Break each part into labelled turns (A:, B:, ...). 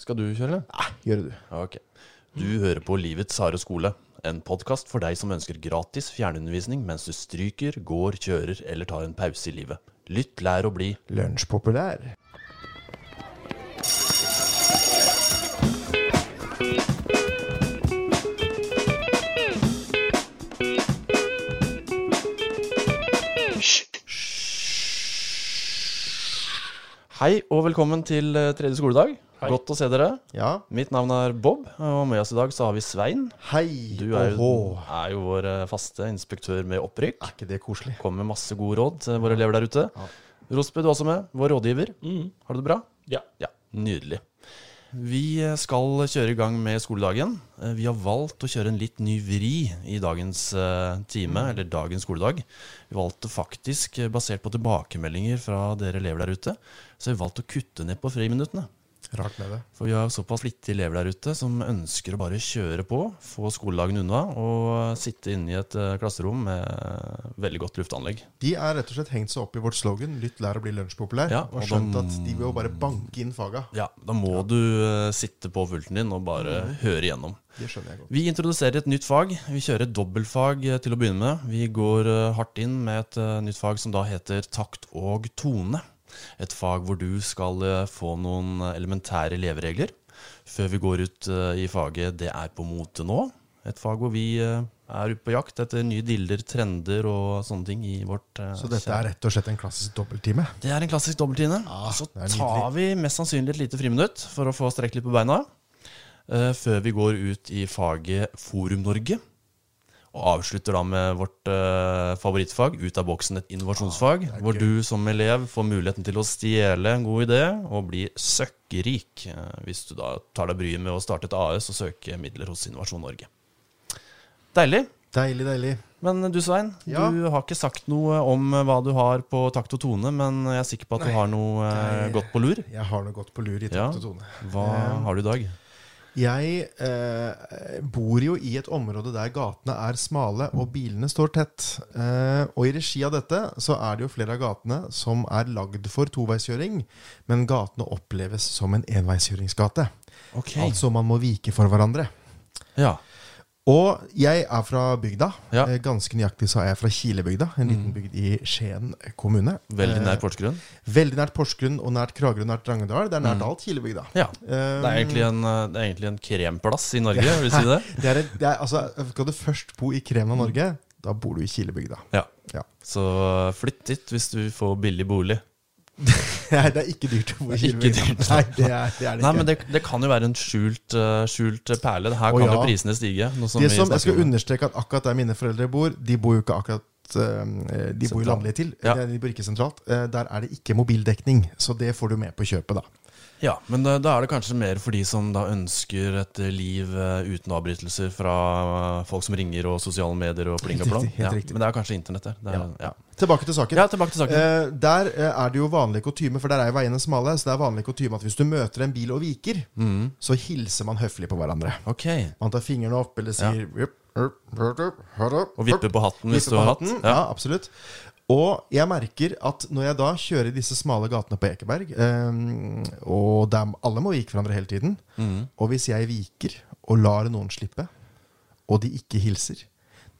A: Skal du kjøre, eller?
B: Ah, Gjør det du.
A: Ok. Du hører på Livets harde skole, en podkast for deg som ønsker gratis fjernundervisning mens du stryker, går, kjører eller tar en pause i livet. Lytt, lær og bli.
B: Lunsjpopulær.
A: Hei og velkommen til eh, tredje skoledag. Godt å se dere.
B: Ja.
A: Mitt navn er Bob, og med oss i dag så har vi Svein.
B: Hei.
A: Du er jo,
B: Åhå.
A: er jo vår eh, faste inspektør med opprykk.
B: Er ikke det koselig?
A: Kommer med masse gode råd til våre elever der ute. Rospe, du er også med. Vår rådgiver. Har du det bra?
C: Ja.
A: Ja, nydelig. Vi eh, skal kjøre i gang med skoledagen. Eh, Vi har valgt å kjøre en litt ny vri i dagens eh, time,
B: Mm.
A: eller dagens skoledag. Vi valgte faktisk, eh, basert på tilbakemeldinger fra dere elever der ute, så har vi valgt å kutte ned på friminuttene.
B: Rart med det.
A: For vi har såpass flittige elever der ute som ønsker å bare kjøre på, få skoledagen unna og eh, sitte inne i et eh, klasserom med eh, veldig godt luftanlegg.
B: De er rett og slett hengt seg opp i vårt slogan 'Lytt, lær og bli lunsjpopulær'.
A: Ja,
B: og
A: og
B: skjønt
A: de-
B: at de vil jo bare banke inn faga.
A: Ja, Mm. da må du eh, sitte på pulten din og bare høre igjennom.
B: Det skjønner jeg godt.
A: Vi introduserer et nytt fag. Vi kjører et dobbeltfag eh, til å begynne med. Vi går eh, hardt inn med et eh, nytt fag som da heter takt og tone. Et fag hvor du skal eh, få noen eh, elementære leveregler før vi går ut eh, i faget Det er på mote nå. Et fag hvor vi eh, er ute på jakt etter nye dilder, trender og sånne ting i vårt eh,
B: Så dette er rett og slett en klassisk dobbelttime.
A: det er en klassisk dobbelttime. så
B: det er
A: tar vi mest sannsynlig et lite friminutt for å få strekt litt på beina. eh, før vi går ut i faget Forum Norge. Og avslutter da med vårt eh, favorittfag, Ut av boksen, et innovasjonsfag. hvor du som elev får muligheten til å stjele en god idé og bli søkkrik. eh, hvis du da tar deg bryet med å starte et AS og søke midler hos Innovasjon Norge. Deilig.
B: Deilig, deilig.
A: Men eh, du Svein,
B: Ja.
A: du har ikke sagt noe om eh, hva du har på takt og tone, men jeg er sikker på at du har noe eh, godt på lur.
B: Jeg har nå gått på lur i takt
A: Ja.
B: og tone.
A: Hva har du i dag?
B: Jeg eh, bor jo i et område der gatene er smale og bilene står tett. Eh, og i regi av dette så er det jo flere av gatene som er lagd for toveiskjøring, men gatene oppleves som en enveiskjøringsgate.
A: Ok.
B: Altså man må vike for hverandre.
A: Ja.
B: Og jeg er fra bygda.
A: Ja. Mm.
B: Eh, Ganske nøyaktig så er jeg fra Kilebygda, en liten bygd i Skien kommune.
A: Veldig nær
B: Eh,
A: Porsgrunn.
B: veldig nært Porsgrunn og nært Kragerø, nært Drangedal. Det er nært
A: Mm.
B: alt Kilebygda.
A: Ja.
B: Eh,
A: Det er egentlig en, eh, det er egentlig en kremplass i Norge, vil du si det?
B: Det er, et- det er, altså, skal du først bo i kremen av
A: Mm.
B: Norge, da bor du i Kilebygda.
A: Ja.
B: Ja.
A: Så eh, flytt dit hvis du får billig bolig.
B: Nei, det er ikke dyrt å bo i
A: Det er ikke
B: Kilebygda.
A: dyrt.
B: Nei, det er det, er det
A: Nei,
B: ikke.
A: men det, det kan jo være en skjult, eh, skjult perle. Her
B: Å,
A: kan
B: ja.
A: jo prisene stige. Noe som
B: det
A: vi
B: som, jeg
A: snakker
B: skal
A: om.
B: understreke at akkurat der mine foreldre bor, de bor jo ikke akkurat eh, de bor jo
A: Sentralt.
B: landlig til.
A: Ja.
B: De bor ikke sentralt. Eh, Der er det ikke mobildekning, så det får du med på kjøpet, da.
A: Ja, men da, da er det kanskje mer for de som da ønsker et eh, liv eh, uten avbrytelser fra eh, folk som ringer og sosiale medier og pling og plong.
B: riktig, helt
A: ja,
B: riktig.
A: Men det er kanskje internett der. Det er, ja.
B: Tilbake til saken.
A: Ja, tilbake til saken.
B: Eh, der eh, er det jo vanlig kutyme, for der er jo veiene smale, så det er vanlig kutyme at hvis du møter en bil og viker, så hilser man høflig på hverandre.
A: Ok.
B: Man tar fingrene opp eller sier «Jupp, jupp, jupp, jupp, jupp,
A: Og vipper
B: jupp»,
A: på hatten hvis
B: vipper
A: du
B: på
A: har hatt.
B: hatten. Ja.
A: Ja.
B: absolutt. Og jeg merker at når jeg da kjører i disse smale gatene på Ekeberg, eh, og der alle må vike hverandre hele tiden,
A: Mm.
B: og hvis jeg viker og lar noen slippe, og de ikke hilser,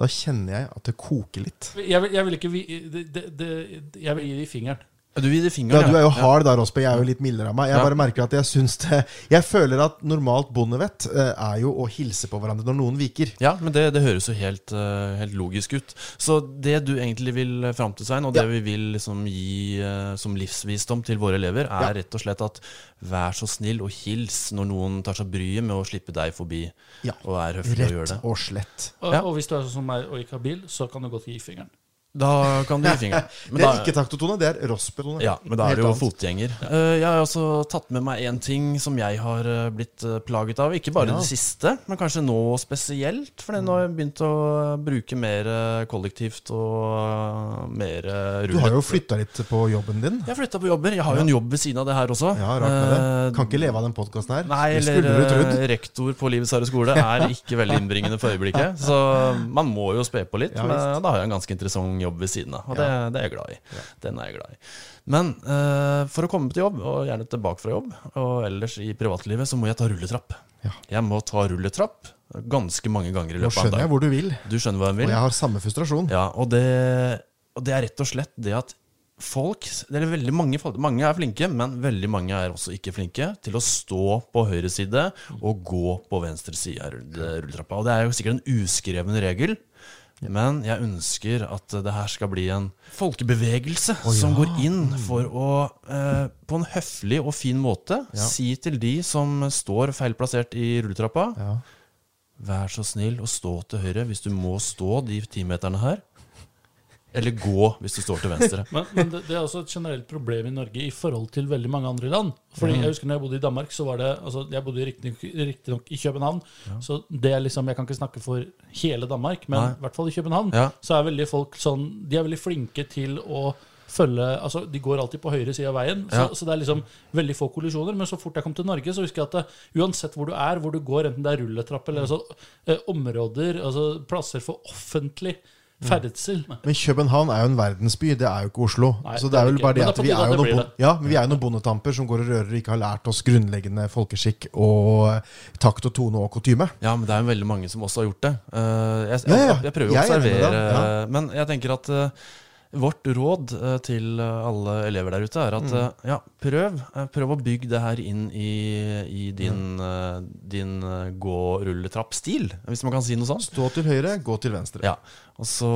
B: da kjenner jeg at det koker litt.
C: Jeg vil, jeg vil ikke vi- det, det, det, Jeg vil gi dem fingeren.
A: Du gir det
B: Ja,
A: fingeren,
B: du er jo hard der, Åspe. Jeg er jo litt mildere av meg. Jeg
A: Ja.
B: bare merker at jeg syns det Jeg føler at normalt bondevett eh, er jo å hilse på hverandre når noen viker.
A: Ja, men det, det høres jo helt, eh, helt logisk ut. Så det du egentlig vil fram til, Svein, og det
B: Ja.
A: vi vil liksom gi eh, som livsvisdom til våre elever, er
B: Ja.
A: rett og slett at vær så snill og hils når noen tar seg bryet med å slippe deg forbi
B: Ja.
A: og er høflig og gjør
B: Rett
A: det.
B: og slett.
C: Og,
A: Ja.
C: og hvis du er sånn som meg og ikke har bil, så kan du godt gi fingeren.
A: Da kan du gi fingeren. Men
B: det er
A: da-
B: ikke taktotone, det er rospetone.
A: Ja, men da er
B: Helt
A: det jo
B: annet.
A: fotgjenger. Eh, Jeg har også tatt med meg en ting som jeg har eh, blitt eh, plaget av. Ikke bare
B: Ja.
A: det siste, men kanskje nå spesielt. For nå har jeg begynt å bruke mer eh, kollektivt og eh, mer eh,
B: Du har
A: rullett.
B: jo flytta litt på jobben din.
A: Jeg har flytta på jobber. Jeg har jo en jobb ved siden av det her også.
B: Ja, rart med det.
A: Eh,
B: Kan ikke leve av den podkasten her.
A: Nei,
B: det skulle du
A: eller
B: trodd.
A: eh, rektor på Livets harde skole er ikke veldig innbringende for øyeblikket. Så man må jo spe på litt.
B: Ja,
A: men da har jeg en ganske interessant jobb ved siden av. Og
B: Ja.
A: det, det er jeg glad i. Den er jeg glad i. Men eh, for å komme til jobb, og gjerne tilbake fra jobb, og ellers i privatlivet, så må jeg ta rulletrapp.
B: Ja.
A: Jeg må ta rulletrapp ganske mange ganger i
B: Nå
A: løpet av en
B: skjønner jeg
A: dag.
B: hvor du vil,
A: Du skjønner hva jeg
B: og
A: vil?
B: jeg har samme frustrasjon.
A: Ja, og det, og det er rett og slett det at folk eller veldig mange, folk- mange er flinke, men veldig mange er også ikke flinke til å stå på høyre side og gå på venstre side av rull- rulletrappa. Og det er jo sikkert en uskreven regel. Men jeg ønsker at det her skal bli en folkebevegelse som går inn for å eh, på en høflig og fin måte si til de som står feilplassert i rulletrappa
B: Ja.
A: Vær så snill å stå til høyre hvis du må stå de ti meterne her. Eller gå hvis du står til venstre.
C: Men, men det, det er også et generelt problem i Norge i forhold til veldig mange andre land. Fordi Jeg husker når jeg bodde i Danmark, så var det altså, Jeg bodde riktignok riktignok i København. Så det er liksom Jeg kan ikke snakke for hele Danmark, men
A: Nei.
C: i hvert fall i København
A: Ja.
C: så er veldig folk sånn De er veldig flinke til å følge Altså, de går alltid på høyre side av veien, så,
A: Ja.
C: så det er liksom veldig få kollisjoner. Men så fort jeg kom til Norge, så husker jeg at det, uansett hvor du er, hvor du går, enten det er
A: Mm.
C: rulletrapp eller altså, eh, områder, altså plasser for offentlig ferdsel
A: Mm.
B: Men København er jo en verdensby, det er jo ikke Oslo.
C: Nei,
B: så
C: det
B: det
C: er
B: er vel
C: det ikke.
B: bare det
C: Men det
B: at
C: er på
B: vi
C: tide
B: er, jo
C: at det
B: noen,
C: blir
B: bon- ja, men vi er jo noen bondetamper som går og rører og ikke har lært oss grunnleggende folkeskikk og takt og tone og kutyme.
A: Ja, men det er jo veldig mange som også har gjort det. Eh, jeg,
B: Ja,
A: jeg,
B: ja.
A: jeg, prøver å
B: Jeg er enig med
A: observere,
B: deg, ja.
A: eh, men jeg tenker at eh, vårt råd eh, til eh, alle elever der ute er
B: Mm.
A: at eh, ja, prøv, eh, prøv å bygge det her inn i, i din,
B: Mm.
A: eh, din eh, gå-rulletrapp-stil, hvis man kan si noe sånt.
B: Stå til høyre, gå til venstre.
A: Ja, og så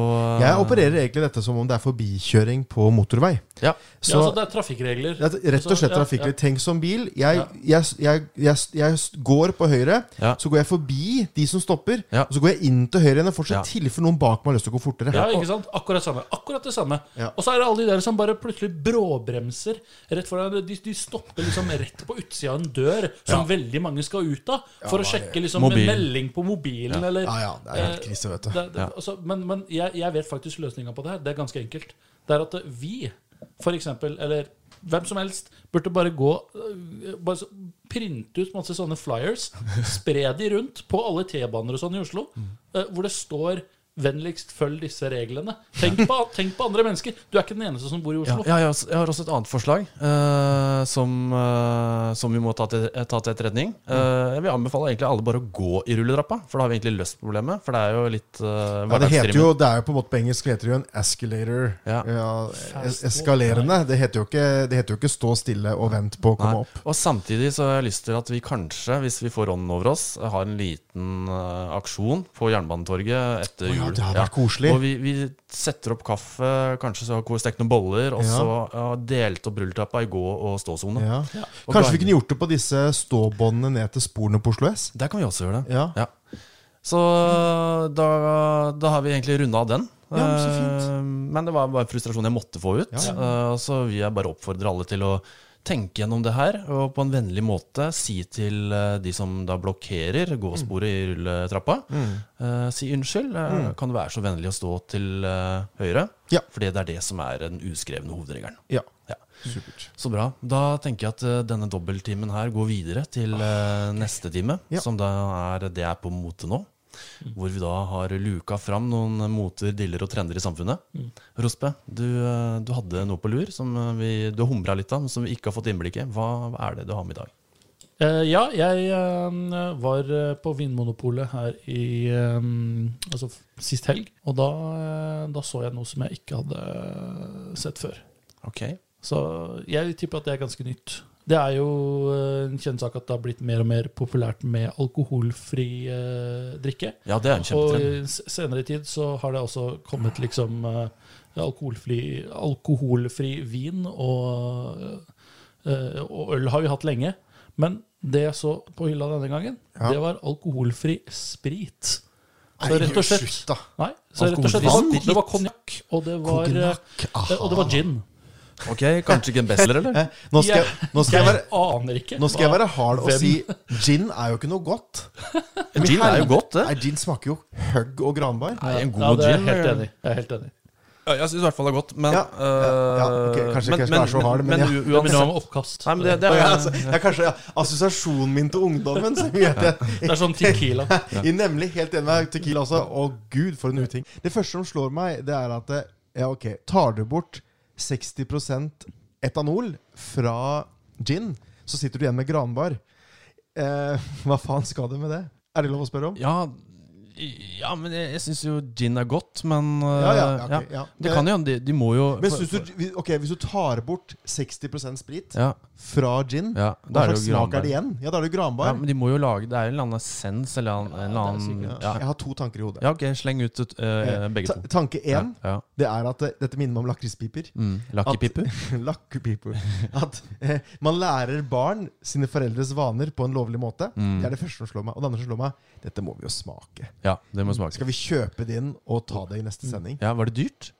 B: Jeg opererer egentlig dette som om det er forbikjøring på motorvei.
A: Ja,
C: ja,
B: Så
C: altså, det er trafikkregler.
B: det er rett og slett
C: Så, ja,
B: trafikklig. Tenk som bil. Jeg,
C: Ja.
B: jeg, jeg, jeg, jeg går på høyre,
A: Ja.
B: så går jeg forbi de som stopper,
A: Ja.
B: og så går jeg inn til høyre igjen og
A: Ja.
B: fortsatt til for noen bak meg har lyst til å gå fortere.
C: Ja, ikke sant? Akkurat samme. Akkurat det samme.
B: Ja.
C: Og så er det alle de der som bare plutselig bråbremser rett foran deg. De, de stopper liksom rett på utsida av en dør som veldig mange skal ut av, for å sjekke liksom en
A: Mobil.
C: melding på mobilen eller
B: Ja, ja, det er helt
C: eh,
B: krise, vet du.
C: det- det-
A: Ja.
C: altså, men men jeg, jeg vet faktisk løsninga på det her. Det er ganske enkelt. Det er at eh, vi, for eksempel, eller hvem som helst, burde bare gå eh, Bare så- printe ut masse sånne flyers, spre de rundt på alle T-baner og sånn i Oslo, eh, hvor det står Vennligst følg disse reglene. Tenk på, tenk på andre mennesker. Du er ikke den eneste som bor i
A: Ja,
C: Oslo.
A: ja, jeg, har også- jeg har også et annet forslag eh, som, eh, som vi må ta til, ta til etterretning.
B: Mm.
A: Eh, jeg vil anbefale egentlig alle bare å gå i rulletrappa, for da har vi egentlig løst problemet. For det er jo litt uh,
B: Ja, det heter jo, det er jo på en måte på engelsk heter det jo en escalator. Ja.
A: Ja.
B: es eskalerende. Det heter, jo ikke, det heter jo ikke stå stille og vent på å komme opp.
A: Og samtidig så har jeg lyst til at vi kanskje, hvis vi får ånden over oss, har en liten eh, aksjon på Jernbanetorget etter
B: Å ja,
A: jul.
B: det hadde vært koselig.
A: Hvor vi, vi setter opp kaffe, kanskje så har vi stekt noen boller, og
B: Ja.
A: så har delt opp rulletrappa i gå- og ståsone.
B: Ja.
A: Og
B: Kanskje
A: gange.
B: vi kunne gjort det på disse ståbåndene ned til sporene på Oslo S?
A: Der kan vi også gjøre det.
B: Ja.
A: Ja. Så da, da har vi egentlig runda av den.
B: Ja, men så fint.
A: Eh, Men det var bare frustrasjon jeg måtte få ut.
B: Ja,
A: Eh, Så vil jeg bare oppfordre alle til å tenke gjennom det her, og på en vennlig måte si til eh, de som da blokkerer
B: Mm.
A: gåsporet i rulletrappa, eh, si unnskyld. eh, Kan du være så vennlig å stå til eh, høyre?
B: Mm. Ja.
A: Fordi det er det som er den uskrevne hovedregelen.
B: Ja.
A: Ja.
B: Supert.
A: Så bra. Da tenker jeg at eh, denne dobbelttimen her går videre til eh, neste time,
B: Ja.
A: som da er det er på mote nå. Hvor vi da har luka fram noen moter, diller og trender i samfunnet. Rospe, du, eh, du hadde noe på lur som eh, vi, du humra litt av, men som vi ikke har fått innblikk i. Hva, hva er det du har med i dag?
C: Eh, ja, jeg eh, var eh, på Vinmonopolet her i eh, Altså f- sist helg. Og da, eh, da så jeg noe som jeg ikke hadde eh, sett før.
A: Ok.
C: Så jeg tipper at det er ganske nytt. Det er jo eh, en kjent sak at det har blitt mer og mer populært med alkoholfri eh, drikke.
A: Ja, det er en
C: Og
A: kjempetrend.
C: i s- senere tid så har det også kommet liksom eh, alkoholfri, alkoholfri vin og, eh, og øl har vi hatt lenge. Men det jeg så på hylla denne gangen,
B: Ja.
C: det var alkoholfri sprit. Så rett og slett,
B: Slutt, da.
C: nei, så rett og slett
A: Alkoholfri
C: det, var, det var
A: sprit?
C: konjakk, og det var, eh,
B: Konjakk,
C: og det var gin.
A: Ok, Kanskje ikke en bestselger, eller?
B: Ah. Eh, Nå skal, jeg, nå, skal jeg være,
C: aner ikke.
B: nå skal jeg være hard og
C: Hvem?
B: si gin er jo ikke noe godt. Men
A: Gin er jo
B: helvete-
A: godt, det.
B: Nei, gin smaker jo høgg og granbar.
A: Nei, en
C: ja,
A: god
C: det er
A: gin.
C: jeg helt enig. i. Jeg er helt enig.
A: Ja, jeg syns i hvert fall det er godt, men eh,
B: Ja, ja, ja, ok, kanskje ikke jeg skal være så hard, men ja.
A: u-
C: Det minner meg
A: uansett
C: om oppkast.
A: Nei, men det, det
B: Å,
A: er
B: ja, altså, det er kanskje ja, assosiasjonen min til ungdommen som gjør det.
C: Det er sånn tequila.
B: I Nemlig. Helt enig med Tequila også. Å gud, for en uting. Det første som slår meg, det er at eh, Ja, ok. Tar du bort 60 etanol fra gin, så sitter du igjen med granbar. Eh, hva faen skal du med det? Er det lov å spørre om?
A: Ja, ja men jeg, jeg syns jo gin er godt, men eh,
B: Ja, ja, ja, ok, ja.
A: Det kan jo De, de må jo
B: Men synes du, ok, Hvis du tar bort 60 sprit
A: ja,
B: fra gin,
A: ja, da
B: hva
A: er det
B: slags
A: jo
B: smak
A: granbar.
B: er det igjen? Ja, da er det jo
A: Ja,
B: granbar.
A: men de må jo lage Det er en eller annen essens eller en, en eller
C: det er
A: annen
C: sikkert.
A: ja.
B: Jeg har to tanker i hodet.
A: ja, ok, sleng ut et, eh,
B: Eh,
A: begge
B: ta
A: to.
B: tanke én
A: Ja, ja.
B: det er at det, dette minner meg om lakrispiper.
A: Mm. Lucky
B: At-
A: Pippu.
B: Lucky people. At eh, man lærer barn sine foreldres vaner på en lovlig måte.
A: Mm.
B: Det er det første som slår meg. Og det andre som slår meg, dette må vi jo smake.
A: Ja, det må smake.
B: Skal vi kjøpe det inn og ta det i
A: Mm.
B: neste sending?
A: Ja, Var det dyrt?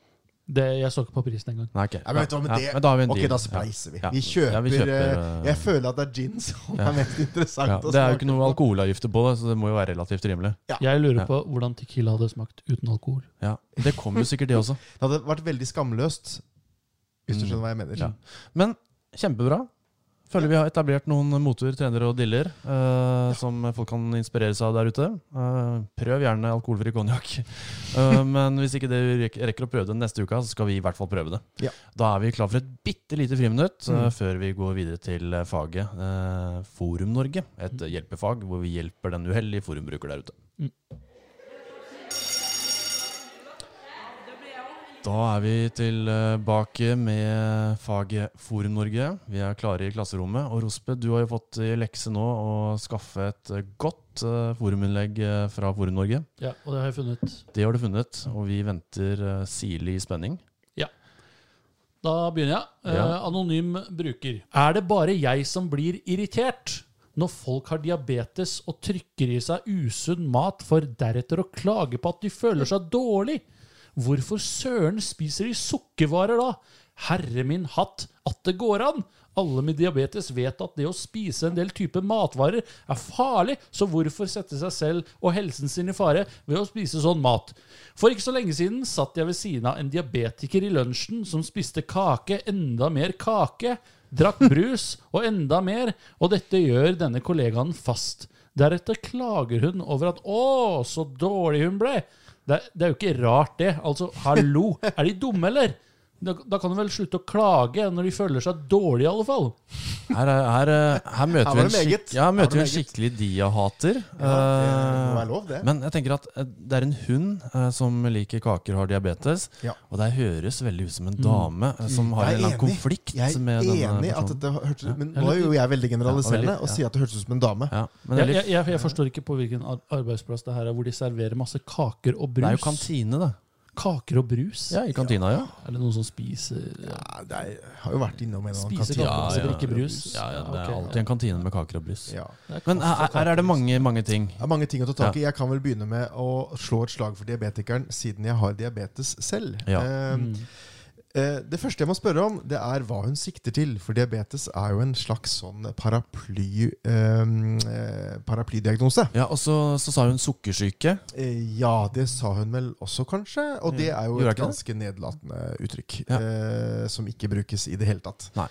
C: Det, jeg så ikke på prisen engang.
A: Nei, ok.
B: Ja, men vet du hva, med
A: Ja,
B: det,
A: men da har vi en
B: ok,
A: deal.
B: da
A: Ja.
B: spleiser vi.
A: Ja.
B: Vi kjøper,
A: Ja, vi kjøper,
B: eh,
A: eh,
B: Jeg føler at det er gin som
A: Ja.
B: er mest interessant
A: ja,
B: å
A: det er jo
B: smake
A: ikke noe
B: på.
A: alkoholavgifter på det, så det må jo være relativt rimelig.
C: Jeg lurer
A: Ja.
C: på hvordan Tequila hadde smakt uten alkohol.
A: Ja, Det kommer jo sikkert, det også.
B: Det hadde vært veldig skamløst, hvis du
A: Mm.
B: skjønner hva jeg mener.
A: Ja. Men kjempebra. Føler vi har etablert noen motor, trenere og diller eh, som folk kan inspirere seg av der ute. Eh, prøv gjerne alkoholfri konjakk. Eh, men hvis ikke det rek- rekker å prøve det neste uka, så skal vi i hvert fall prøve det.
B: Ja.
A: Da er vi klar for et bitte lite friminutt eh,
B: Mm.
A: før vi går videre til eh, faget eh, Forum Norge. Et
B: Mm.
A: hjelpefag hvor vi hjelper den uheldige forumbruker der ute. Da er vi tilbake med faget Forum Norge. Vi er klare i klasserommet. Og Rospe, du har jo fått i lekse nå å skaffe et godt eh, foruminnlegg eh, fra Forum Norge.
C: Ja, og det har jeg funnet.
A: Det har du funnet, og vi venter eh, sirlig i spenning.
C: Da begynner jeg. Eh,
A: Ja.
C: Anonym bruker. Er det bare jeg som blir irritert når folk har diabetes og trykker i seg usunn mat for deretter å klage på at de føler seg dårlig? Hvorfor søren spiser de sukkervarer da? Herre min hatt, at det går an! Alle med diabetes vet at det å spise en del typer matvarer er farlig, så hvorfor sette seg selv og helsen sin i fare ved å spise sånn mat? For ikke så lenge siden satt jeg ved siden av en diabetiker i lunsjen som spiste kake, enda mer kake, drakk brus og enda mer, og dette gjør denne kollegaen fast. Deretter klager hun over at 'Å, så dårlig hun ble'. Det, er- det er jo ikke rart, det. Altså, hallo! Er de dumme, eller? Da, da kan du vel slutte å klage når de føler seg dårlige, i alle fall.
A: Her, er, her, eh, her møter
B: Her
A: vi
B: var
A: en,
B: det
A: skik
B: meget.
A: ja, her
B: Her var
A: møter vi en
B: det meget.
A: skikkelig dia-hater.
B: det må
A: Eh,
B: være lov, det.
A: Men jeg tenker at eh, det er en hund eh, som liker kaker og har diabetes.
B: Ja. Mm.
A: Og det høres veldig ut som en dame eh, som har en
B: Jeg er
A: eller annen
B: enig.
A: konflikt
B: Jeg er
A: med denne
B: enig at
A: personen.
B: dette hørtes Men
C: Ja,
B: nå er jo jeg veldig
A: Ja,
B: generaliserende
A: veldig,
B: og
A: ja.
B: sier at det hørtes ut som en dame.
A: Ja, men det
C: Jeg,
A: er,
C: jeg,
A: litt,
C: jeg, jeg forstår ikke på hvilken ar- arbeidsplass det her er, hvor de serverer masse kaker og
A: det er jo
C: brus.
A: kantine, da.
C: Kaker og brus?
A: Ja, i kantina, ja.
C: Er det noen som spiser ja.
B: Ja, det er, har jo vært innom en eller annen
C: Spiser
B: kantine.
C: Ja, kaker, altså, drikke brus.
A: Ja, ja, det
C: Ja,
A: er
C: ok.
A: alltid en kantine med kaker og brus.
B: Ja.
A: Men her, her er det mange, mange ting.
B: Det er mange ting å ta tak i. Jeg kan vel begynne med å slå et slag for diabetikeren, siden jeg har diabetes selv.
A: Ja.
B: Eh, eh, Det første jeg må spørre om, det er hva hun sikter til. For diabetes er jo en slags sånn paraply, eh, eh, paraplydiagnose.
A: Ja, Og så, så sa hun sukkersyke.
B: Eh, Ja, det sa hun vel også, kanskje. Og det er jo
A: Mm. Gjorde
B: et
A: hun ikke
B: ganske nedlatende uttrykk.
A: Ja.
B: Eh, som ikke brukes i det hele tatt.
A: Nei.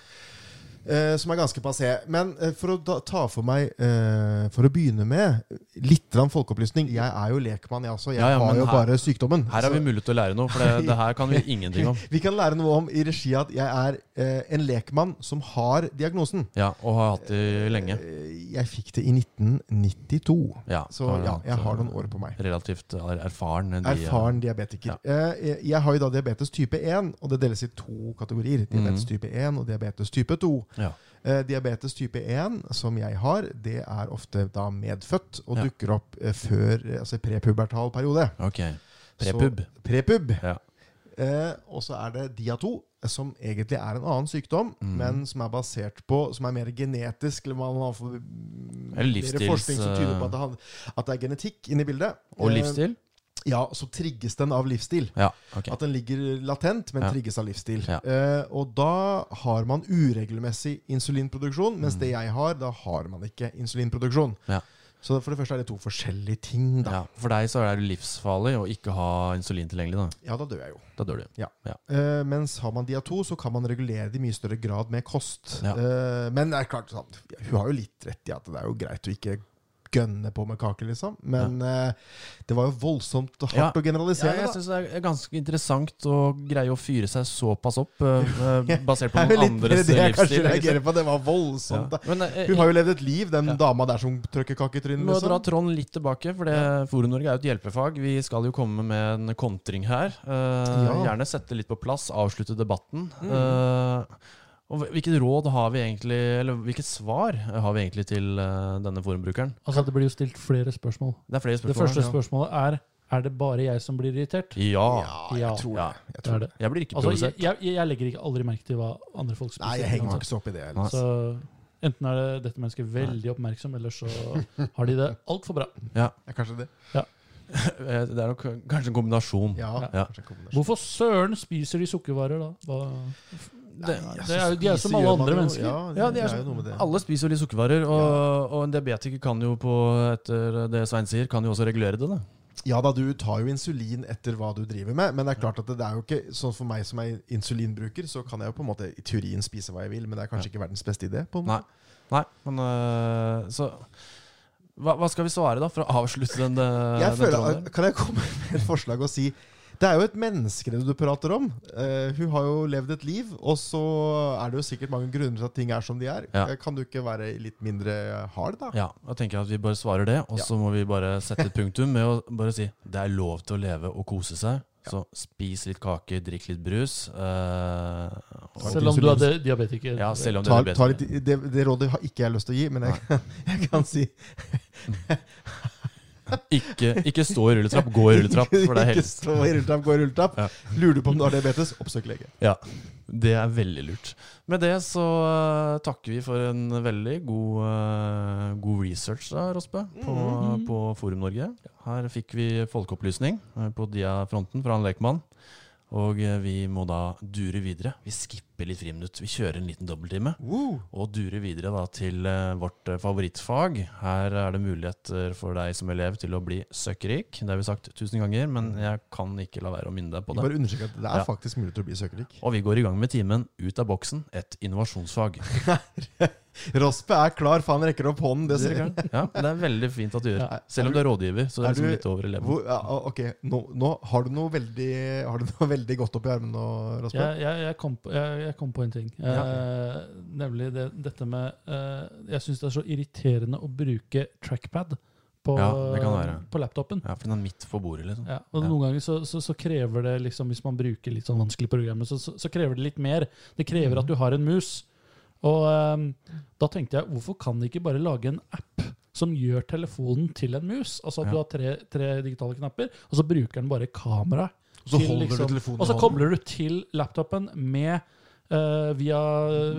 B: Eh, som er ganske passé. Men eh, for å da, ta for meg eh, For å begynne med litt grann folkeopplysning. Jeg er jo lekmann, jeg også. Jeg
A: Ja, ja,
B: har
A: men
B: jo
A: her-
B: bare sykdommen.
A: Her har
B: Så
A: vi mulighet til å lære noe, for det, det her kan vi ingenting om.
B: vi kan lære noe om i regi at jeg er eh, en lekmann som har diagnosen.
A: Ja, Og har hatt det lenge.
B: Eh, Jeg fikk det i 1992.
A: Ja,
B: Så
A: da har du
B: ja,
A: hatt,
B: jeg har
A: eh,
B: noen år på meg.
A: Relativt er- erfaren. enn de, eh,
B: Erfaren diabetiker. Eh, Jeg, jeg har jo da diabetes type 1, og det deles i to kategorier. Diabetes type 1 og diabetes type 2.
A: Mhm. Ja.
B: Eh, diabetes type 1, som jeg har, det er ofte da medfødt og
A: Ja.
B: dukker opp eh, før, eh, altså i prepubertal periode.
A: Ok.
B: Så-
A: Prepub.
B: Prepub.
A: Ja.
B: Eh, og så er det dia2, som egentlig er en annen sykdom,
A: Mhm.
B: men som er basert på Som er mer genetisk. Eller man har for,
A: Eller
B: mer
A: livsstils- eh,
B: forskning som tyder på at det, han- at det er genetikk inne i bildet.
A: Og
B: Eh,
A: livsstil?
B: Ja, så trigges den av livsstil.
A: Ja. ok.
B: At den ligger latent, men
A: Ja.
B: trigges av livsstil.
A: Ja.
B: Eh, og da har man uregelmessig insulinproduksjon, mens det jeg har, da har man ikke insulinproduksjon.
A: Mm. Ja.
B: Så for det første er det to forskjellige ting, da.
A: ja. For deg så er det livsfarlig å ikke ha insulin tilgjengelig. Da
B: Ja, da dør jeg jo.
A: Da dør du.
B: Eh, mens har man dia2, så kan man regulere det i mye større grad med kost.
A: Ja.
B: sånn, Eh, men det er klart, sant, hun har jo litt rett i at det er jo greit å ikke gønne på med kake, liksom. Men eh, det var jo voldsomt hardt
A: Ja.
B: å
A: Ja,
B: generalisere.
A: jeg
B: da.
A: syns det er ganske interessant å greie å fyre seg såpass opp, eh, eh, basert på
B: Det er
A: noen
B: litt mer
A: andres
B: det jeg kanskje
A: livsstil. ikke sant?
B: reagerer på. Det var voldsomt.
A: Ja.
B: da.
A: Men eh,
B: Hun har jo levd et liv, den
A: Ja.
B: dama der som trøkker kake
A: Vi
B: i trynet.
A: må dra
B: Liksom.
A: tråden litt tilbake, for det Forum Norge er jo et hjelpefag. Vi skal jo komme med en kontring her. Eh,
B: Ja. Mm.
A: Gjerne sette litt på plass, avslutte debatten. Eh, og hv- hvilket råd har vi egentlig, eller hvilket svar har vi egentlig til eh, denne forumbrukeren?
C: Altså, det blir jo stilt flere spørsmål.
A: Det er flere
C: Det
A: spørsmål.
C: første
A: her.
C: spørsmålet er Er det bare jeg som blir irritert.
A: Ja.
B: Ja,
C: Ja.
B: jeg tror
A: ja.
B: det. Jeg,
C: Det
B: tror
C: er
B: det.
C: det.
A: Jeg blir ikke
C: Altså, jeg,
A: provosert.
C: jeg, jeg legger ikke aldri merke til hva andre folk spiser.
B: Nei, jeg henger meg ikke så opp i det. Eller.
A: Nei.
C: Så enten er det dette mennesket veldig oppmerksom, eller så har de det altfor bra.
B: Det er kanskje det.
A: Eh, Det er nok kanskje en kombinasjon.
B: Ja,
A: Ja.
B: kanskje en kombinasjon.
C: Hvorfor søren spiser de sukkervarer da? Hva?
A: Det,
B: Nei,
C: det er jo- de er jo som
B: spiser
C: alle
B: gjør man
C: andre
B: jo.
C: mennesker.
B: Ja,
A: Ja, de er
B: jo
A: som-
B: noe med det.
A: alle spiser jo litt sukkervarer, og, og en diabetiker kan jo på, etter det Svein sier, kan jo også regulere det. da.
B: Ja da, du tar jo insulin etter hva du driver med, men det er klart at det er jo ikke sånn for meg som er insulinbruker, så kan jeg jo på en måte i teorien spise hva jeg vil, men det er kanskje ikke verdens beste idé. På en
A: Nei.
B: måte.
A: Nei, men øh, så hva, hva skal vi svare, da, for å avslutte den, øh,
B: Jeg
A: den
B: føler,
A: tråden der?
B: kan jeg komme med et forslag og si det er jo et menneskeredd du prater om. Eh, hun har jo levd et liv, og så er det jo sikkert mange grunner til at ting er som de er.
A: Ja.
B: Eh, Kan du ikke være litt mindre hard, da?
A: Ja, da tenker jeg at vi bare svarer det, og så må vi bare sette et punktum med å bare si det er lov til å leve og kose seg. Så spis litt kake, drikk litt brus. øh, og,
C: Selv om du er de- diabetiker.
A: ja, selv om det
B: Ta,
A: er
B: ta
A: bedre.
B: litt, det, det rådet har ikke jeg lyst til å gi, men jeg kan, jeg kan si
A: Ikke, ikke stå i rulletrapp, gå i rulletrapp. For det er
B: Ikke
A: helst.
B: stå i rulletrapp, gå i rulletrapp.
A: Ja.
B: Lurer du på om du har diabetes, oppsøk lege.
A: Ja, det er veldig lurt. Med det så øh, takker vi for en veldig god, øh, god research, da, Rospe, på, på Forum Norge. Her fikk vi folkeopplysning øh, på Dia-fronten fra han lekmann. Og øh, vi må da dure videre. Vi skipper litt friminutt. Vi kjører en liten dobbelttime.
B: Woo!
A: Og dure videre da til eh, vårt eh, favorittfag. Her er det muligheter for deg som elev til å bli søkkrik. Det har vi sagt tusen ganger, men jeg kan ikke la være å minne deg på
B: Vi
A: det.
B: bare understreker at det
A: Ja.
B: er faktisk mulig til å bli søkerrik.
A: Og vi går i gang med timen Ut av boksen, et innovasjonsfag.
B: Raspe er klar, faen rekker opp hånden. Det ser jeg.
A: Ja, Det er veldig fint at du gjør.
C: Ja.
A: Selv om du er rådgiver, så det
B: er
A: er liksom
B: du-
A: litt over eleven.
B: Hvor, ja, ok, nå, nå har, du noe veldig, har du noe veldig godt oppi armen nå, Raspe?
C: Jeg, jeg, jeg, kom på, jeg, jeg kom på en ting.
A: Ja.
C: Eh, nemlig det, dette med eh, Jeg syns det er så irriterende å bruke trackpad på,
A: Ja, det kan være.
C: på laptopen.
A: Ja, for den er midt på bordet, liksom.
C: Ja, og
A: Ja.
C: Noen ganger så, så, så krever det liksom Hvis man bruker litt sånn vanskelig programmer, så, så, så krever det litt mer. Det
A: Mm.
C: krever at du har en mus. Og ehm, da tenkte jeg, hvorfor kan de ikke bare lage en app som gjør telefonen til en mus? Altså at
A: Ja.
C: du har tre, tre digitale knapper, og så bruker den bare kamera.
B: Så
C: til
B: holder du
A: liksom-
B: telefonen i
C: Og så
B: hånden.
C: kobler du til laptopen med eh, via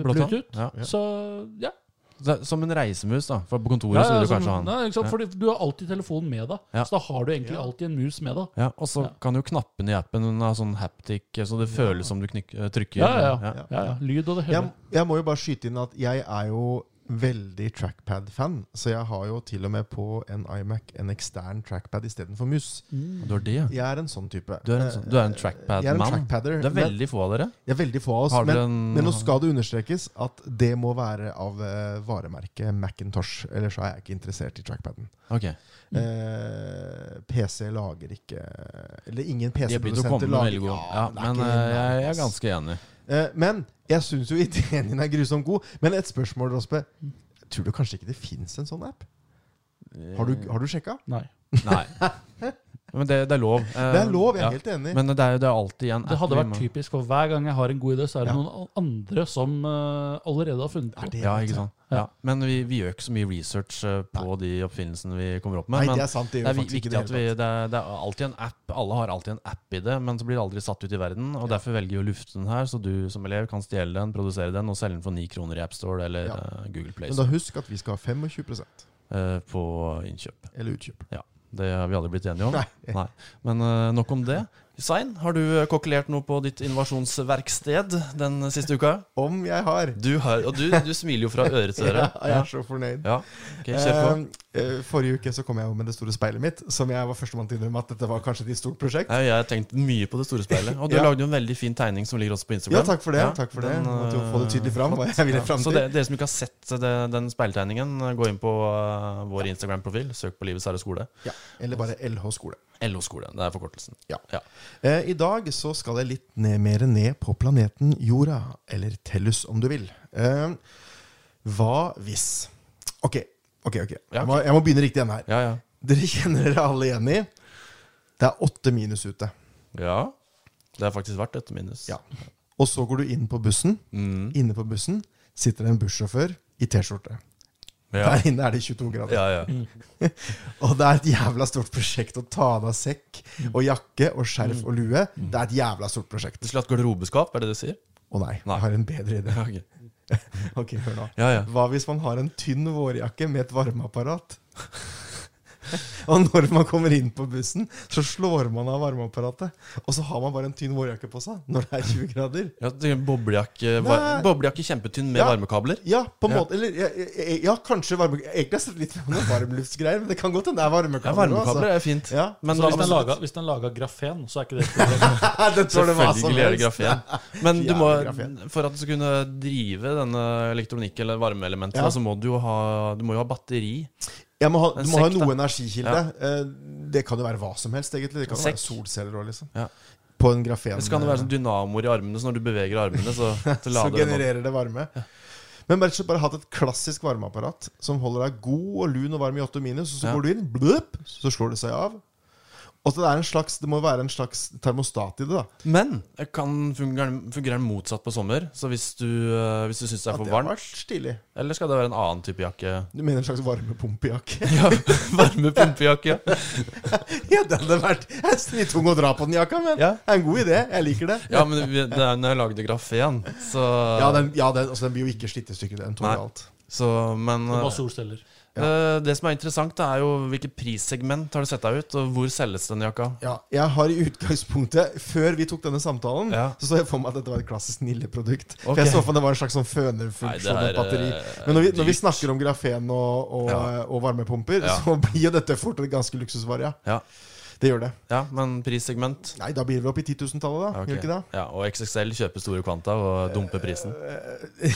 A: Blåtann.
C: Bluetooth.
A: Ja.
C: Så ja.
A: Så det er Som en reisemus, da. For på kontoret
C: ja,
A: så vil
C: ja,
A: du
B: sånn-
C: som-
A: kanskje ha den.
C: nei, ikke sant?
A: Ja.
C: Fordi du har alltid telefonen med deg.
A: Ja.
C: Så da har du egentlig alltid en mus med deg.
A: Ja, og så
C: Ja.
A: kan jo knappene i appen ha sånn haptic, så det føles som du knyk, øh, trykker.
C: Ja, ja, ja.
A: Ja.
C: ja, ja. Lyd og det hele.
B: Jeg, jeg må jo bare skyte inn at jeg er jo veldig trackpad-fan, så jeg har jo til og med på en iMac en ekstern trackpad istedenfor mus.
C: Mm.
A: Du har det, ja.
B: Jeg er en sånn type. Eh,
A: Du er en, sånn- du er en
B: Jeg er en
A: trackpad-mann.
B: trackpadder.
A: Det er
B: men-
A: veldig få av dere.
B: Det er veldig få av oss,
A: Har
B: men,
A: dere en-
B: men nå skal det understrekes at det må være av eh, varemerket Macintosh. Ellers er jeg ikke interessert i trackpaden.
A: Ok,
B: Eh, PC lager ikke Eller ingen
A: De har begynt å komme
B: PC-produsenter
A: med
B: lager
A: veldig gode
B: Ja,
A: Ja,
B: det er
A: men
B: ikke
A: øh,
B: det.
A: jeg, jeg er ganske enig.
B: Eh, Men jeg syns jo ideen din er grusomt god. Men et spørsmål, Rospe.
A: Mm.
B: Tror du kanskje ikke det fins en sånn app? Har
A: Eh,
B: du, har du sjekka?
C: Nei.
A: Nei. Men det, det er lov. Eh,
B: Det er lov, jeg
A: ja.
B: er helt enig.
A: Men det er jo det er alltid en
C: Det
A: app
C: hadde
A: vi
C: vært
A: må-
C: typisk, for hver gang jeg har en god idé, så er det
B: Ja.
C: noen al- andre som eh, allerede har funnet
B: Er
C: på.
B: det-
A: Ja, ikke sant?
C: Ja.
A: Ja. Men vi, vi gjør ikke så mye research eh, på de oppfinnelsene vi kommer opp med.
B: Nei,
A: men
B: det er sant. Det
A: det
B: gjør
A: er
B: vi
A: vi-
B: faktisk ikke
A: viktig
B: det
A: at vi,
B: hele tatt.
A: det er, det er alltid en app. Alle har alltid en app i det, men så blir det aldri satt ut i verden. Og Derfor velger vi å lufte den her, så du som elev kan stjele den, produsere den og selge den for 9 kroner i AppStore eller
B: Ja.
A: eh, Google Play
B: Men da husk at vi skal ha 25
A: eh, på innkjøp.
B: eller utkjøp.
A: Det har vi aldri blitt enige om.
B: Nei.
A: Nei. Men eh, nok om det. Svein, har du eh, kokkelert noe på ditt innovasjonsverksted den siste uka?
B: Om jeg har!
A: Du har, og du, du smiler jo fra øre til øre.
B: jeg er så fornøyd.
A: Ja, ok, kjør på.
B: Eh, eh, forrige uke så kom jeg jo med det store speilet mitt, som jeg var førstemann til å innrømme at dette var kanskje et stort prosjekt.
A: Nei, Jeg har tenkt mye på det store speilet. Og du
B: Ja.
A: lagde jo en veldig fin tegning som ligger også på Instagram.
B: Ja, takk for det.
A: Ja,
B: takk for
A: den,
B: det. Måtte jo
A: eh,
B: få det tydelig fram. hva jeg ville fram
A: Så
B: til.
A: det, dere som ikke har sett eh, det, den speiltegningen, gå inn på eh, vår Instagram-profil. Søk på Livets Herre skole.
B: Ja, eller bare LH skole.
A: LO-skole. Det er forkortelsen.
B: Ja. Eh, I dag så skal jeg litt ned, mer ned på planeten Jorda, eller Tellus om du vil. Eh, hva hvis Ok, ok, ok.
A: Ja,
B: Jeg, må, jeg må begynne riktig igjen her.
A: Ja, ja.
B: Dere kjenner dere alle igjen i det er åtte minus ute.
A: ja. Det er faktisk verdt et minus.
B: Ja. Og så går du inn på bussen.
A: Mm.
B: Inne på bussen sitter det en bussjåfør i T-skjorte.
A: Ja.
B: Der inne er det 22 grader.
A: ja, ja.
B: Og det er et jævla stort prosjekt å ta av deg sekk og jakke og skjerf og lue. Det er et jævla stort prosjekt.
A: Du skulle hatt garderobeskap, er det det du sier?
B: Å nei,
A: Nei.
B: jeg har en bedre idé.
A: Ja, ok.
B: Ok, hør nå.
A: ja, ja.
B: Hva hvis man har en tynn vårjakke med et varmeapparat? og når man kommer inn på bussen, så slår man av varmeapparatet. Og så har man bare en tynn vårjakke på seg når det er 20 grader.
A: Ja, det er Boblejakke, var,
B: Nei.
A: boblejakke kjempetynn med
B: Ja.
A: varmekabler.
B: Ja, på en
A: Ja.
B: måte Eller ja, ja, ja, kanskje varme... Egentlig har jeg sett litt på noen varmluftsgreier, men det kan godt hende det
A: Ja,
B: er varmekabler.
A: varmekabler er fint.
B: Ja,
A: Men
C: Så
A: da,
C: hvis den, laga, hvis den laga grafen, så er ikke det et problem.
B: det tror jeg det var som
A: selvfølgelig er det
B: helst.
A: grafen. Men du må,
B: Jævlig grafen.
A: for at du skal kunne drive denne elektronikk- eller varmeelementet,
B: Ja.
A: så må du jo ha, du må jo ha batteri.
B: Jeg må ha,
A: En
B: du må ha
A: sekk, da.
B: noe energikilde. Eh, Det kan jo være hva som helst, egentlig. Det kan jo
A: Sekk.
B: være solceller òg, liksom.
A: Ja.
B: På en grafen.
A: Eller så kan det være sånn dynamoer i armene, så når du beveger armene, så, så
B: så
A: lader den opp.
B: genererer det varme. Men bare, bare hatt et klassisk varmeapparat som holder deg god og lun og varm i 8 minus, og så
A: Ja.
B: går du inn, blup, så slår det seg av. Og så det, er en slags, det må være en slags termostat i det. da
A: Men det kan fungere, fungere motsatt på sommer. Så hvis du, eh, hvis du syns det er
B: At
A: for
B: det har
A: varmt,
B: vært stilig.
A: eller skal det være en annen type jakke?
B: Du mener en slags varmepumpejakke?
A: Ja, Varmepumpejakke. ja.
B: ja, det hadde vært Jeg er snitung å dra på den jakka, men
A: Ja.
B: det er en god idé. Jeg liker det.
A: Ja, men vi- det er når jeg lagde grafen, så,
B: Ja, den, ja, den, altså, den blir jo ikke slitt i stykker. Den
A: Nei.
B: tåler alt.
A: så Men
C: Det
A: eh,
C: var solceller.
A: eh, det som er interessant, det er jo hvilket prissegment har du sett deg ut, og hvor selges denne jakka?
B: Ja, jeg har i utgangspunktet, før vi tok denne samtalen,
A: Ja.
B: så så jeg for meg at dette var et klassisk Nille-produkt. For
A: Ok.
B: jeg så for meg det var en slags sånn
A: Nei, det
B: fønerfunksjon
A: er,
B: og batteri.
A: eh,
B: Men når vi, når vi
A: dyrt.
B: snakker om grafen og, og, eh,
A: Ja.
B: og varmepumper,
A: Ja.
B: så blir jo dette fort en ganske luksusvare. Ja.
A: Ja,
B: Det gjør det.
A: ja men prissegment?
B: Nei, da blir vi oppe i 10.000-tallet,
A: Ja,
B: da.
A: ok.
B: Gjør ikke det? Eh,
A: Ja, og XXL kjøper store kvanta og dumper prisen.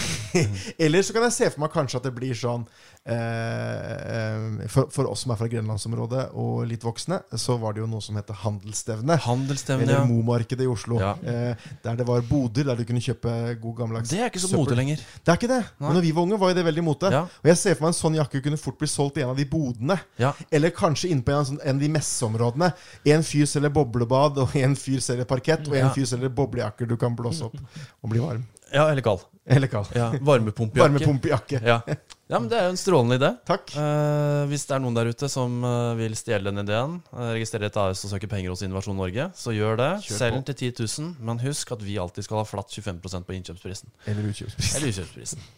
B: Eller så kan jeg se for meg kanskje at det blir sånn eh, eh, for, for oss som er fra grenlandsområdet og litt voksne, så var det jo noe som heter handelsstevne.
A: Handelsstevne,
B: Eller
A: ja.
B: Momarkedet i Oslo.
A: Ja.
B: Eh, der det var boder der du kunne kjøpe god gammeldags
A: Det er ikke så
B: søppel.
A: mote lenger.
B: Det er ikke det.
A: Nei.
B: Men når vi var unge, var jo det veldig mote.
A: Ja.
B: Og jeg ser for meg en sånn jakke kunne fort bli solgt i en av de bodene.
A: Ja.
B: Eller kanskje inne på en, av sånn- en av de messeområdene. En fyr selger boblebad, og en fyr selger parkett, og en
A: Ja.
B: fyr selger boblejakker du kan blåse opp og bli varm.
A: ja, eller kald.
B: Eller kald.
A: Ja, Varmepumpejakke.
B: Varmepumpejakke.
A: Ja. ja, men det er jo en strålende idé.
B: Takk.
A: Eh, hvis det er noen der ute som eh, vil stjele den ideen, eh, registrere et AS og søke penger hos Innovasjon Norge, så gjør det.
B: Kjør på.
A: Selg den til 10 000, men husk at vi alltid skal ha flatt 25 på innkjøpsprisen.
B: Eller utkjøpspris.
A: Eller utkjøpsprisen.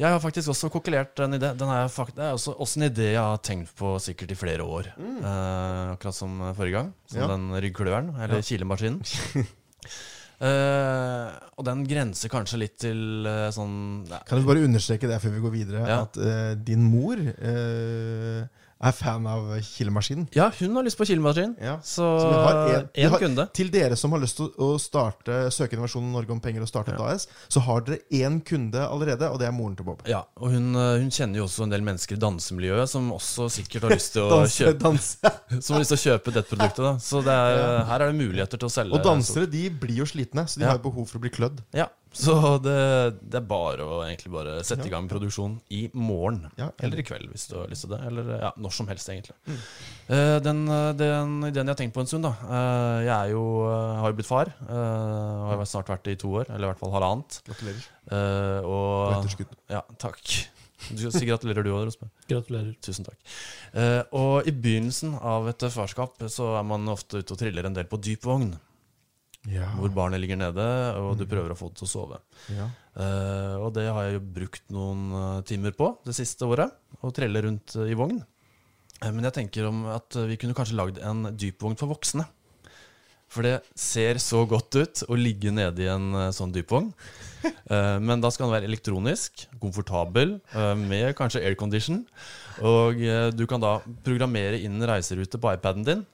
A: Jeg har faktisk også kokkelert en idé. Den er fakt det er også, også en idé jeg har tenkt på sikkert i flere år. Eh, akkurat som forrige gang. Som
B: Mm. Ja.
A: den ryggkløveren, eller kilemaskinen. Eh, og den grenser kanskje litt til eh, sånn nei,
B: Kan du bare understreke det før vi går videre,
A: Ja.
B: at eh, din mor eh, er fan av kilemaskinen?
A: Ja, hun har lyst på kilemaskin.
B: Ja.
A: Så
B: Så vi har en- vi
A: én
B: har-
A: kunde.
B: Til dere som har lyst til å starte søke Innovasjon Norge om penger og starte et AS, så har dere én kunde allerede, og det er moren til Bob.
A: Ja, og hun, eh, hun kjenner jo også en del mennesker i dansemiljøet som også sikkert har lyst til å
B: Danse,
A: kjøpe,
B: danse.
A: som har lyst til å kjøpe dette produktet. Da. Så det er, her er det muligheter til å selge.
B: Og dansere de blir jo slitne, så
A: altså.
B: de
A: Ja.
B: har jo behov for å bli klødd.
A: Ja, Så det, det er bare å egentlig bare sette i gang produksjon i morgen.
B: Ja.
A: Eller i kveld, hvis du har lyst til det. Eller ja, når som helst, egentlig. Eh, den, eh, den ideen jeg har tenkt på en stund, da. Eh, jeg er jo, eh, har jo blitt far. eh, og har snart vært det i to år, eller i hvert fall halvannet.
B: Gratulerer.
A: Eh,
B: På
A: og
B: etterskudd.
A: Ja, takk. Du skal si gratulerer du òg, Rosme.
C: Gratulerer.
A: Tusen takk. Eh, og i begynnelsen av et farskap så er man ofte ute og triller en del på dyp vogn,
B: Ja.
A: hvor barnet ligger nede, og du prøver å få det til å sove.
B: ja.
A: Eh, og det har jeg jo brukt noen eh, timer på det siste året, å trelle rundt eh, i vogn. Eh, men jeg tenker om at vi kunne kanskje lagd en dypvogn for voksne. For det ser så godt ut å ligge nede i en eh, sånn dypvogn. Eh, Men da skal den være elektronisk, komfortabel, eh, med kanskje aircondition. Og eh, du kan da programmere inn en reiserute på iPaden din,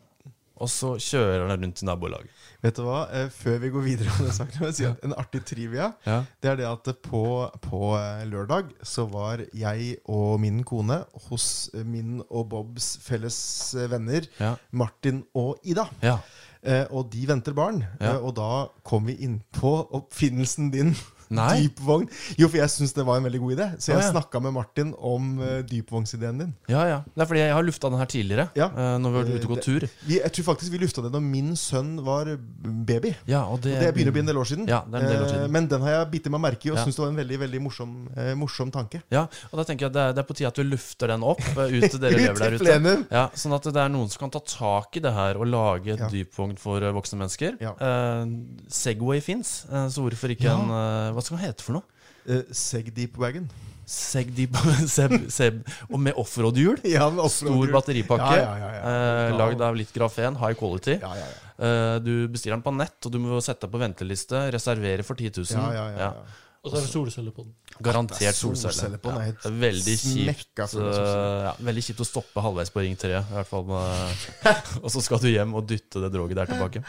A: og så kjører den rundt i nabolaget.
B: Vet du hva, eh, Før vi går videre, om den saken, må jeg si at en artig trivia
A: Ja.
B: Det er det at på, på eh, lørdag så var jeg og min kone hos eh, min og Bobs felles eh, venner
A: Ja.
B: Martin og Ida.
A: Ja.
B: Eh, og de venter barn.
A: Ja.
B: Eh, og da kom vi inn på oppfinnelsen din.
A: Nei.
B: Dypvogn. Jo, for jeg syns det var en veldig god idé. Så
A: Å,
B: jeg
A: ja.
B: snakka med Martin om eh, dypvognsideen din.
A: ja, ja. Det er fordi jeg har lufta den her tidligere,
B: Ja.
A: eh, når vi var ute og gått tur.
B: Vi, jeg tror faktisk vi lufta det når min sønn var baby.
A: Ja, og det,
B: Det begynner å bli en del år siden.
A: Ja, det er en del år
B: Eh,
A: siden.
B: Men den har jeg bitt meg merke i og
A: Ja.
B: syns det var en veldig veldig morsom, eh, morsom tanke.
A: Ja, og da tenker jeg at det er, det er på tide at du lufter den opp eh, ut til dere
B: Ut
A: elever der
B: til
A: ute.
B: plenum.
A: Ja, sånn at det er noen som kan ta tak i det her og lage
B: Ja.
A: dypvogn for eh, voksne mennesker.
B: Ja.
A: Eh, Segway fins, eh, så hvorfor ikke
B: Ja.
A: en eh, Hva skal den hete for noe?
B: Eh, Seg deep wagon.
A: Segdeep seb, seb, Og med offroad-hjul.
B: Ja, men
A: Stor
B: offroad-hjul.
A: batteripakke.
B: Ja, ja, ja, ja.
A: eh, Lagd av litt grafen, high quality.
B: Ja, ja, ja.
A: Eh, du bestiller den på nett, og du må sette deg på venteliste. Reservere for 10 000.
B: ja, ja, ja, ja.
C: Og så er det solceller på den.
B: Det er
A: Garantert
B: solceller.
A: solcelle.
B: på den, det er helt
A: Ja, veldig, kjipt,
B: smekka full av
A: eh,
B: solceller.
A: ja, veldig kjipt å stoppe halvveis på Ring 3. I hvert fall med, og så skal du hjem og dytte det droget der tilbake.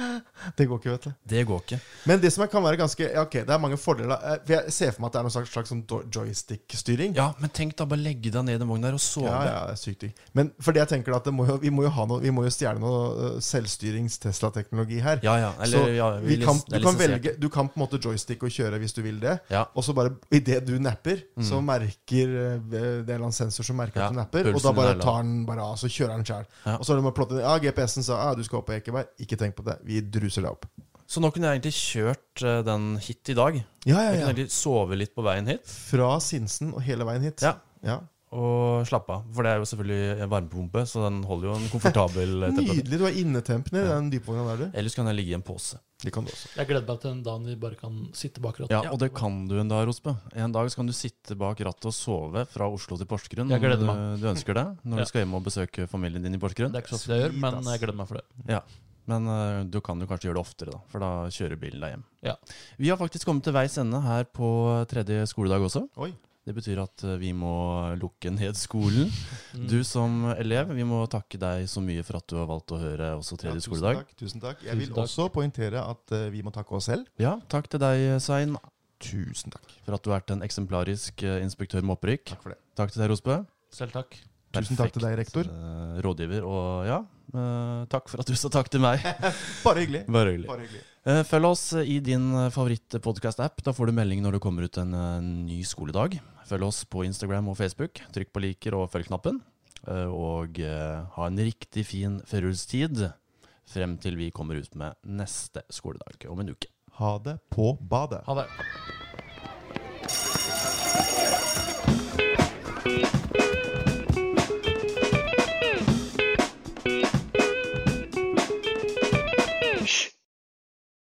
B: Det går ikke, vet du.
A: Det går ikke.
B: Men det som er- kan være ganske ja, Ok, det er mange fordeler. eh, For jeg ser for meg at det er noen slags, slags sånn do- joystick-styring.
A: Ja, Men tenk da, bare legge deg ned i den vogna der og sove.
B: Ja, ja, det er sykt digg. Men for det jeg tenker da, at det må jo, vi må jo ha noe Vi må jo stjele noe eh, selvstyrings-Tesla-teknologi her.
A: Ja, ja, eller,
B: så
A: ja, vi
B: vi kan,
A: lis- det
B: du,
A: er
B: kan
A: lisensiert.
B: velge, du kan på en måte joystick og kjøre hvis du vil det.
A: Ja.
B: Og så bare idet du napper, så merker eh, det er en eller annen sensor som merker
A: Mm. Ja,
B: at du napper, og
A: pulsen
B: da bare
A: er lav.
B: tar den bare av, så kjører den sjøl.
A: Ja.
B: Og så er det med å plotte inn Ja, GPS-en sa ah, du skal opp på Ekeberg. Ikke tenk på det. Vi druser deg opp.
A: Så nå kunne jeg egentlig kjørt eh, den hit i dag. Jeg
B: Ja, ja,
A: kunne
B: ja.
A: egentlig sove litt på veien hit
B: Fra Sinsen og hele veien hit.
A: Ja.
B: Ja.
A: og slappe av. For det er jo selvfølgelig en varmepumpe, så den holder jo en komfortabel eh, temperatur.
B: Nydelig. Du har innetempen i den dypvogna der, du.
A: Ellers kan jeg ligge i en pose.
B: Det kan du også.
C: Jeg gleder meg til den dagen vi bare kan sitte bak rattet.
A: Ja, og det kan du en dag, Rospe. En dag så kan du sitte bak rattet og sove fra Oslo til Porsgrunn.
C: Jeg gleder
A: om du-
C: meg.
A: Du ønsker det når
C: Ja.
A: du skal hjem og besøke familien din i Porsgrunn.
C: Det er ikke så ofte jeg gjør,
B: Sweet,
C: men
B: ass.
C: jeg gleder meg for det.
A: Ja. Men eh, du kan jo kanskje gjøre det oftere, da, for da kjører bilen deg hjem.
C: Ja.
A: Vi har faktisk kommet til veis ende her på tredje skoledag også.
B: Oi.
A: Det betyr at eh, vi må lukke ned skolen.
C: Mm.
A: Du som elev, vi må takke deg så mye for at du har valgt å høre også
B: Ja,
A: tredje
B: tusen
A: skoledag.
B: takk. Tusen takk. Jeg
C: Tusen
B: vil
C: takk.
B: også poengtere at eh, vi må takke oss selv.
A: Ja, takk til deg, Svein,
B: Tusen takk.
A: for at du har vært en eksemplarisk eh, inspektør med opprykk.
B: Takk for det.
A: Takk til deg, Rosbø.
C: Mm. Selv takk.
B: Tusen takk til deg, rektor.
A: eh, rådgiver. Og ja, eh, takk for at du sa takk til meg.
B: Bare hyggelig.
A: Bare hyggelig.
B: Bare hyggelig.
A: Eh, Følg oss i din favoritt-podkast-app. Da får du melding når det kommer ut en eh, ny skoledag. Følg oss på Instagram og Facebook. Trykk på liker og følg-knappen. Eh, Og eh, ha en riktig fin førjulstid frem til vi kommer ut med neste skoledag om en uke.
B: Ha det på badet.
C: Ha det.